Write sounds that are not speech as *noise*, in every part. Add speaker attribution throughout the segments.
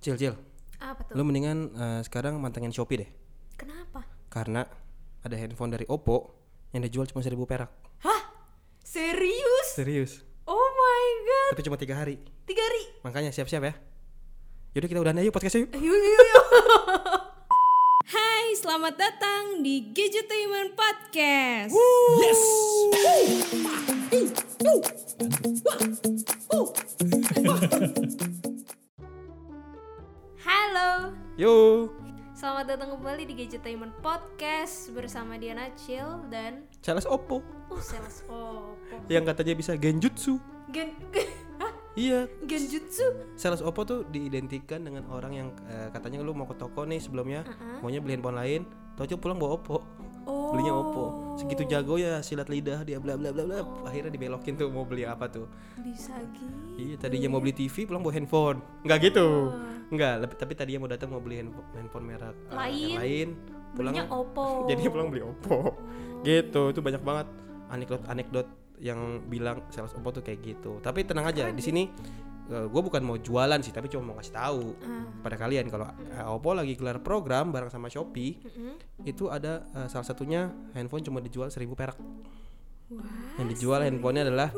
Speaker 1: Cil, Cil.
Speaker 2: Apa tuh?
Speaker 1: Lu mendingan eh, sekarang mantengin Shopee deh.
Speaker 2: Kenapa?
Speaker 1: Karena ada handphone dari Oppo yang dijual cuma 1000 perak.
Speaker 2: Hah? Serius?
Speaker 1: Serius.
Speaker 2: Oh my god.
Speaker 1: Tapi cuma tiga hari.
Speaker 2: Tiga hari.
Speaker 1: Makanya siap-siap ya. Yaudah kita udahan aja yuk podcastnya
Speaker 2: *laughs*
Speaker 1: yuk.
Speaker 2: Yuk, yuk, yuk. Hai, selamat datang di Gadgetainment Podcast.
Speaker 1: Yes.
Speaker 2: Halo,
Speaker 1: Yo.
Speaker 2: selamat datang kembali di Gadgetainment Podcast bersama Diana Chill dan
Speaker 1: Charles Oppo
Speaker 2: oh sales Oppo.
Speaker 1: yang katanya bisa genjutsu.
Speaker 2: Gen *laughs* Hah?
Speaker 1: Iya,
Speaker 2: Genjutsu.
Speaker 1: sales Oppo tuh diidentikan dengan orang yang eh, katanya lu mau ke toko nih sebelumnya maunya beli handphone lain, tau pulang bawa Oppo.
Speaker 2: Oh.
Speaker 1: Belinya Oppo. Segitu jago ya silat lidah dia bla bla bla bla. Akhirnya dibelokin tuh mau beli apa tuh.
Speaker 2: Bisa gitu.
Speaker 1: Iya, tadinya mau beli TV pulang bawa handphone. Enggak gitu.
Speaker 2: Ah.
Speaker 1: Enggak, lebih- tapi tadinya mau datang mau beli handphone, handphone merek eh,
Speaker 2: Lain.
Speaker 1: yang lain. Pulang
Speaker 2: Belinya Oppo.
Speaker 1: *laughs* jadi pulang beli Oppo. Gitu, itu banyak banget anekdot-anekdot yang bilang sales Oppo tuh kayak gitu. Tapi tenang aja, di sini gue bukan mau jualan sih, tapi cuma mau kasih tahu pada kalian kalau eh, Oppo lagi gelar program bareng sama Shopee, itu ada eh, salah satunya handphone cuma dijual 1000 perak. Yang dijual handphonenya adalah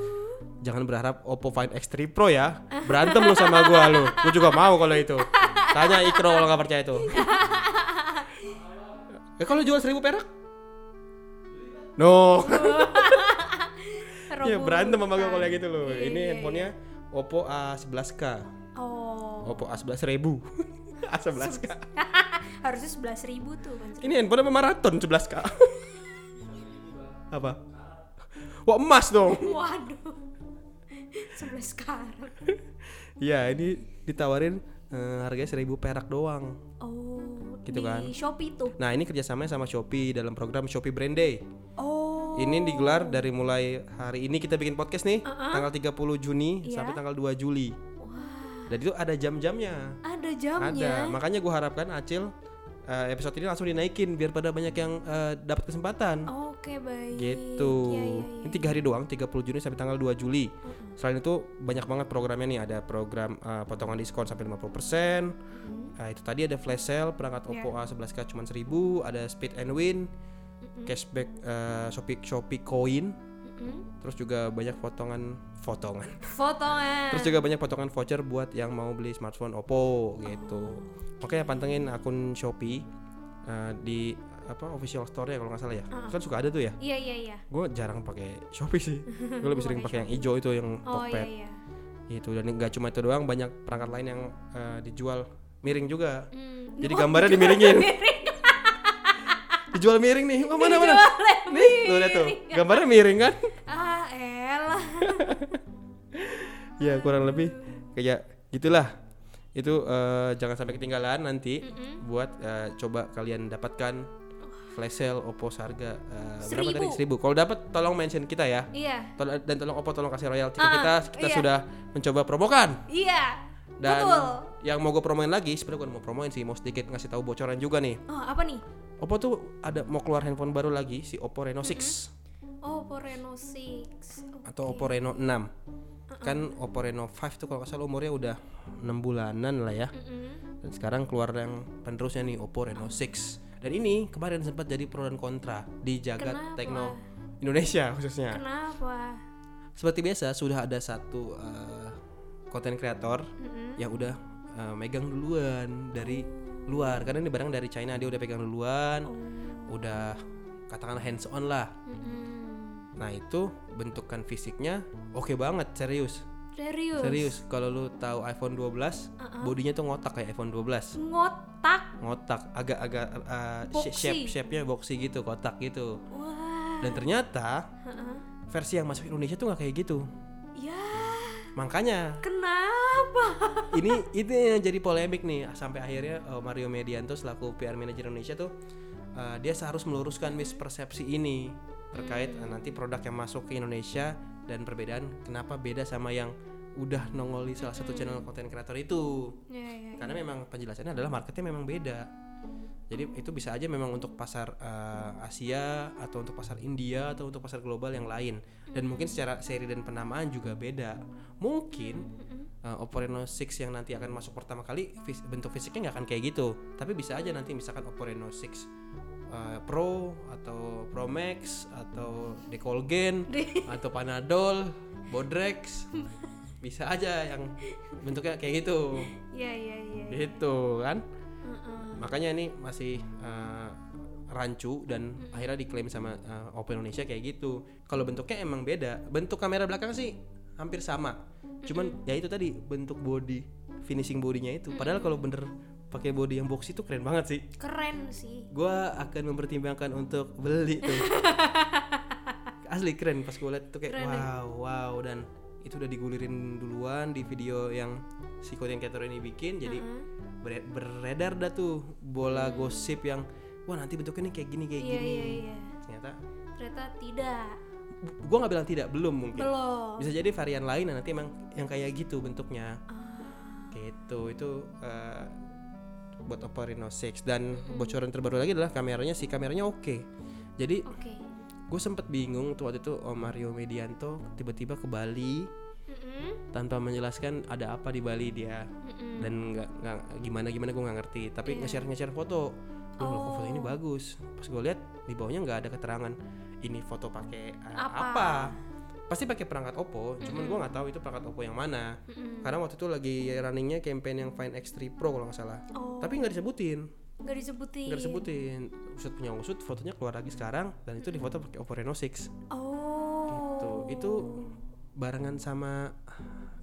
Speaker 1: jangan berharap Oppo Find X3 Pro ya. Berantem lu sama gua lu. Gua juga mau kalau itu. Tanya Ikro kalau nggak percaya itu. Ya kalau jual 1000 perak?
Speaker 2: Oh,
Speaker 1: *laughs* No. ya
Speaker 2: Robo-
Speaker 1: berantem sama gua kalau yang gitu
Speaker 2: Iya,
Speaker 1: loh. Ini handphonenya Oppo A11K.
Speaker 2: Oh.
Speaker 1: Oppo A11000. *laughs* A11K. *laughs*
Speaker 2: Harusnya sebelas ribu tuh kan.
Speaker 1: Ini handphone apa maraton 11K? apa? *laughs* Wah emas dong.
Speaker 2: Waduh. *laughs* Sebelas sekarang.
Speaker 1: Ya ini ditawarin eh, harganya 1000 perak doang.
Speaker 2: Oh.
Speaker 1: Gitu
Speaker 2: di
Speaker 1: kan.
Speaker 2: Shopee tuh.
Speaker 1: Nah ini kerjasamanya sama Shopee dalam program Shopee Brand Day.
Speaker 2: Oh. Uh-uh.
Speaker 1: Ini digelar dari mulai hari ini kita bikin podcast nih tanggal 30 Juni
Speaker 2: Iya.
Speaker 1: sampai tanggal 2 Juli.
Speaker 2: Wah.
Speaker 1: Dan itu ada jam-jamnya.
Speaker 2: Ada
Speaker 1: Ada.
Speaker 2: jamnya.
Speaker 1: Makanya gue harapkan Acil eh, episode ini langsung dinaikin biar pada banyak yang eh, dapat kesempatan.
Speaker 2: Oke baik.
Speaker 1: Gitu.
Speaker 2: Ya, ya, ya.
Speaker 1: Ini tiga hari doang, 30 Juni sampai tanggal 2 Juli. Selain itu banyak banget programnya nih, ada program eh, potongan diskon sampai 50%. Nah, itu tadi ada flash sale perangkat Oppo A11K cuma 1000, ada Speed and Win, cashback eh, Shopee Shopee Coin,
Speaker 2: Mm-mm.
Speaker 1: terus juga banyak potongan potongan.
Speaker 2: Potongan.
Speaker 1: Terus juga banyak potongan voucher buat yang mau beli smartphone Oppo gitu. Makanya pantengin akun Shopee eh, di apa official store ya kalau nggak salah ya. Kan suka ada tuh ya.
Speaker 2: Iya iya iya.
Speaker 1: Gue jarang pakai Shopee sih. Gue lebih sering pakai yang hijau itu yang
Speaker 2: Oh iya
Speaker 1: Tokped
Speaker 2: iya.
Speaker 1: gitu. Dan nggak cuma itu doang, banyak perangkat lain yang eh, dijual miring juga.
Speaker 2: Hmm. *laughs*
Speaker 1: Jadi
Speaker 2: Oh,
Speaker 1: gambarnya
Speaker 2: jualan
Speaker 1: dimiringin.
Speaker 2: miring.
Speaker 1: Dijual miring nih. Oh, mana mana.
Speaker 2: Jualan
Speaker 1: Nih, tuh lihat tuh.
Speaker 2: miring.
Speaker 1: Gambarnya miring kan?
Speaker 2: Ah elah.
Speaker 1: ya, kurang lebih kayak gitulah. Itu eh, jangan sampai ketinggalan nanti buat eh, coba kalian dapatkan flash sale Oppo seharga eh, berapa tadi? 1000. Kalau dapat tolong mention kita ya.
Speaker 2: Iya.
Speaker 1: Tol- dan tolong Oppo tolong kasih royalti ke
Speaker 2: Ah,
Speaker 1: kita. Kita
Speaker 2: iya.
Speaker 1: sudah mencoba promokan.
Speaker 2: Iya.
Speaker 1: Dan
Speaker 2: Betul.
Speaker 1: yang mau gue promoin lagi, sebenarnya gue mau promoin sih, mau sedikit ngasih tahu bocoran juga nih.
Speaker 2: Oh apa nih?
Speaker 1: Oppo tuh ada mau keluar handphone baru lagi si Oppo Reno 6
Speaker 2: Oh Oppo Reno 6. Oh.
Speaker 1: atau Oppo Reno 6. Kan Oppo Reno 5 tuh kalau nggak salah umurnya udah 6 bulanan lah ya.
Speaker 2: Mm-mm.
Speaker 1: Dan sekarang keluar yang penerusnya nih Oppo Reno 6. Dan ini kemarin sempat jadi pro dan kontra di jagat
Speaker 2: Kenapa?
Speaker 1: tekno Indonesia *laughs*
Speaker 2: Ah.
Speaker 1: khususnya.
Speaker 2: Kenapa?
Speaker 1: Seperti biasa sudah ada satu eh, konten kreator
Speaker 2: Mm-mm.
Speaker 1: yang udah eh, megang duluan dari luar karena ini barang dari China dia udah pegang duluan
Speaker 2: Oh.
Speaker 1: udah katakan hands on lah
Speaker 2: Mm-mm.
Speaker 1: nah itu bentukan fisiknya oke banget serius
Speaker 2: Serius.
Speaker 1: serius kalau lu tahu iPhone 12
Speaker 2: Uh-uh.
Speaker 1: bodinya tuh ngotak kayak iPhone 12
Speaker 2: Ngotak.
Speaker 1: ngotak agak-agak eh,
Speaker 2: Boxy.
Speaker 1: shape shape-nya boxy gitu kotak gitu
Speaker 2: Wah.
Speaker 1: dan ternyata
Speaker 2: Heeh.
Speaker 1: versi yang masuk Indonesia tuh nggak kayak gitu
Speaker 2: Ya.
Speaker 1: makanya
Speaker 2: Kenapa?
Speaker 1: ini itu yang jadi polemik nih sampai akhirnya uh, Mario Medianto selaku PR manajer Indonesia tuh uh, dia harus meluruskan mispersepsi ini terkait uh, nanti produk yang masuk ke Indonesia dan perbedaan kenapa beda sama yang udah nongol di salah satu channel konten kreator itu
Speaker 2: *laughs* Ya ya.
Speaker 1: karena memang penjelasannya adalah marketnya memang beda jadi itu bisa aja memang untuk pasar uh, Asia atau untuk pasar India atau untuk pasar global yang lain dan mungkin secara seri dan penamaan juga beda mungkin uh, Oppo Reno 6 yang nanti akan masuk pertama kali fis- bentuk fisiknya nggak akan kayak gitu tapi bisa aja nanti misalkan Oppo Reno 6 uh, Pro atau Pro Max atau Decolgen *laughs* atau Panadol Bodrex bisa aja yang bentuknya kayak gitu
Speaker 2: Iya iya iya.
Speaker 1: gitu kan
Speaker 2: Heeh.
Speaker 1: makanya ini masih uh, rancu dan akhirnya diklaim sama uh, Oppo Indonesia kayak gitu. Kalau bentuknya emang beda. Bentuk kamera belakang sih hampir sama. Cuman ya itu tadi bentuk body, finishing bodinya itu. Padahal kalau bener pakai body yang box itu keren banget sih.
Speaker 2: Keren sih.
Speaker 1: Gua akan mempertimbangkan untuk
Speaker 2: *laughs*
Speaker 1: beli tuh. Asli keren pas gue liat tuh kayak
Speaker 2: Keren ya?
Speaker 1: wow wow dan itu udah digulirin duluan di video yang si Korean Cator ini bikin jadi
Speaker 2: Heeh.
Speaker 1: bere- beredar dah tuh bola gosip yang wah nanti bentuknya nih kayak gini kayak
Speaker 2: Iya
Speaker 1: Eh, gini
Speaker 2: iya iya.
Speaker 1: ternyata
Speaker 2: Ternyata tidak.
Speaker 1: bu- gua nggak bilang tidak belum mungkin
Speaker 2: Belum.
Speaker 1: bisa jadi varian lain nah nanti emang yang kayak gitu bentuknya gitu itu eh, buat Oppo Reno 6 dan bocoran terbaru lagi adalah kameranya si kameranya oke jadi
Speaker 2: Oke.
Speaker 1: gue sempet bingung tuh waktu itu Om Mario Medianto tiba-tiba ke Bali
Speaker 2: Heeh.
Speaker 1: tanpa menjelaskan ada apa di Bali dia
Speaker 2: Heeh.
Speaker 1: dan nggak nggak gimana gimana gue nggak ngerti tapi nge-share nge-share foto gue oh.
Speaker 2: Iya. Oh.
Speaker 1: foto ini bagus pas gue lihat di bawahnya nggak ada keterangan ini foto pakai uh,
Speaker 2: Apa?
Speaker 1: apa? pasti pakai perangkat Oppo cuman gue nggak tahu itu perangkat Oppo yang mana
Speaker 2: Mm-mm.
Speaker 1: karena waktu itu lagi runningnya campaign yang Find X3 Pro kalau nggak salah
Speaker 2: Oh. Iya.
Speaker 1: tapi nggak disebutin
Speaker 2: Gak disebutin.
Speaker 1: nggak disebutin usut punya usut fotonya keluar lagi sekarang dan itu difoto pakai Oppo Reno 6
Speaker 2: Oh.
Speaker 1: tuh Gitu. itu barengan sama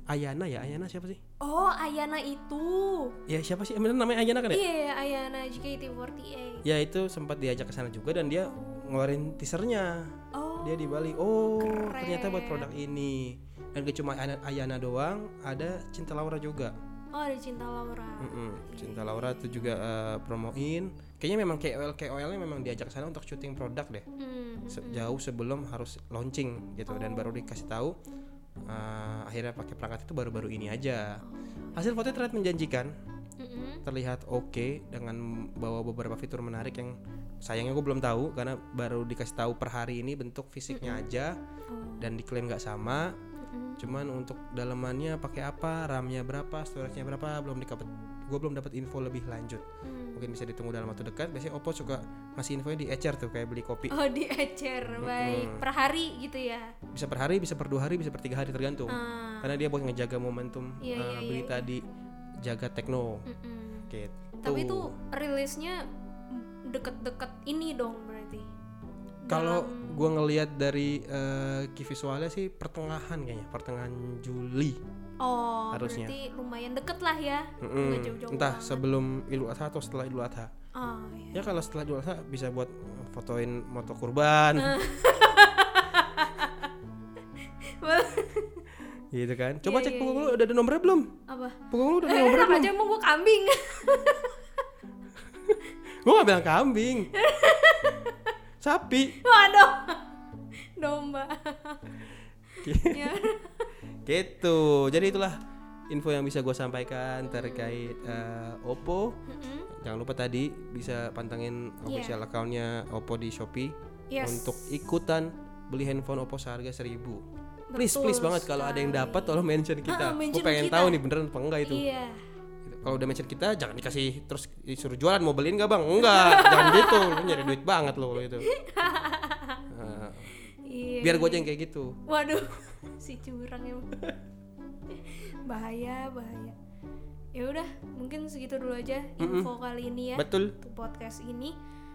Speaker 1: Ayana ya Ayana siapa sih
Speaker 2: Oh, Ayana itu.
Speaker 1: ya siapa sih Emang namanya Ayana kan ya
Speaker 2: Iya, Ayana JKT48.
Speaker 1: ya itu sempat diajak ke sana juga dan dia ngeluarin teasernya
Speaker 2: Oh.
Speaker 1: dia di Bali oh
Speaker 2: Keren.
Speaker 1: ternyata buat produk ini dan gak cuma Ayana- Ayana doang ada Cinta Laura juga
Speaker 2: Oh, ada Cinta Laura.
Speaker 1: Mm-mm. Cinta Laura tuh juga eh, promoin kayaknya memang KOL KOL nya memang diajak ke sana untuk syuting produk deh
Speaker 2: Hmm.
Speaker 1: Se- jauh sebelum harus launching gitu dan baru dikasih tahu eh, akhirnya pakai perangkat itu baru-baru ini aja hasil fotonya terlihat menjanjikan
Speaker 2: Mm-mm.
Speaker 1: terlihat oke dengan bawa beberapa fitur menarik yang sayangnya gue belum tahu karena baru dikasih tahu per hari ini bentuk fisiknya aja
Speaker 2: Oh.
Speaker 1: dan diklaim nggak sama
Speaker 2: Mm-mm.
Speaker 1: cuman untuk dalamannya pakai apa RAM-nya berapa storage-nya berapa belum dikapet gue belum dapat info lebih lanjut
Speaker 2: Hmm.
Speaker 1: mungkin bisa ditunggu dalam waktu dekat biasanya Oppo suka ngasih infonya di ecer tuh kayak beli kopi
Speaker 2: Oh, diecer. Baik. Per hari gitu ya.
Speaker 1: bisa per hari bisa per dua hari bisa per tiga hari tergantung
Speaker 2: Ah.
Speaker 1: karena dia buat ngejaga momentum
Speaker 2: Iya,
Speaker 1: eh,
Speaker 2: iya, iya,
Speaker 1: berita di jaga tekno
Speaker 2: Mm-mm.
Speaker 1: gitu
Speaker 2: Tapi itu rilisnya deket-deket ini dong berarti.
Speaker 1: Kalau gua ngelihat dari eh, key visualnya sih pertengahan kayaknya, pertengahan Juli.
Speaker 2: Oh,
Speaker 1: Harusnya.
Speaker 2: berarti lumayan deket lah ya.
Speaker 1: Mm-mm.
Speaker 2: Nggak jauh-jauh.
Speaker 1: Entah sebelum Idul Adha atau setelah Idul Adha.
Speaker 2: Oh, iya.
Speaker 1: Ya kalau setelah Idul Adha bisa buat fotoin moto
Speaker 2: *laughs*
Speaker 1: kurban gitu kan. Coba
Speaker 2: Iya,
Speaker 1: cek
Speaker 2: iya,
Speaker 1: punggung lu udah ada nomornya belum?
Speaker 2: Apa?
Speaker 1: Punggung lu udah
Speaker 2: *laughs*
Speaker 1: ada
Speaker 2: Eh,
Speaker 1: nomornya
Speaker 2: enak
Speaker 1: belum?
Speaker 2: aja emang gua kambing. *laughs*
Speaker 1: Gua gak bilang
Speaker 2: *laughs*
Speaker 1: kambing. Sapi.
Speaker 2: Waduh. Domba. ya.
Speaker 1: Iya. Gitu. Jadi itulah info yang bisa gua sampaikan terkait eh, Oppo.
Speaker 2: Mm-mm.
Speaker 1: Jangan lupa tadi bisa pantengin official account-nya Oppo di Shopee
Speaker 2: Iya. Yes.
Speaker 1: untuk ikutan beli handphone Oppo seharga 1000. Please
Speaker 2: Betul
Speaker 1: please banget kalau ada yang dapat tolong mention
Speaker 2: Ah,
Speaker 1: kita. Gua
Speaker 2: mention
Speaker 1: pengen
Speaker 2: kita.
Speaker 1: tahu nih beneran apa enggak itu. Gitu.
Speaker 2: Iya.
Speaker 1: Kalau udah mention kita jangan dikasih terus disuruh jualan mau beliin enggak Bang?
Speaker 2: *laughs*
Speaker 1: Enggak, jangan gitu. Lu nyari duit banget lo itu. Nah,
Speaker 2: Iya.
Speaker 1: biar gua aja yang kayak gitu.
Speaker 2: Waduh, *laughs* si curang emang. bahaya, bahaya. Ya udah, mungkin segitu dulu aja info kali ini ya.
Speaker 1: Betul.
Speaker 2: Untuk podcast ini.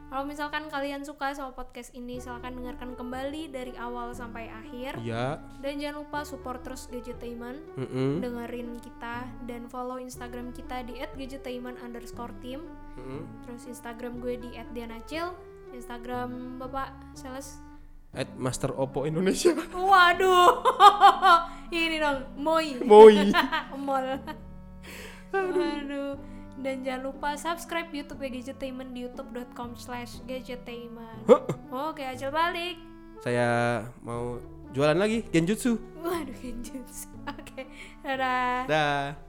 Speaker 2: Kalau misalkan kalian suka sama podcast ini, silahkan dengarkan kembali dari awal sampai akhir.
Speaker 1: Iya.
Speaker 2: Dan jangan lupa support terus Gadgetainment.
Speaker 1: Mm-mm.
Speaker 2: Dengerin kita dan follow Instagram kita di @gadgetainment underscore team.
Speaker 1: Mm-mm.
Speaker 2: Terus Instagram gue di @dianacil. Instagram Bapak Sales
Speaker 1: At Master Oppo Indonesia.
Speaker 2: Waduh, *laughs* ini dong, moi, *laughs*
Speaker 1: Moi.
Speaker 2: mol. Waduh. Dan jangan lupa subscribe YouTube ya, Gadgetainment di youtube.com slash gadgetainment. Oke, acil balik.
Speaker 1: Saya mau jualan lagi Genjutsu.
Speaker 2: Waduh, genjutsu. Oke, dadah.
Speaker 1: Dah.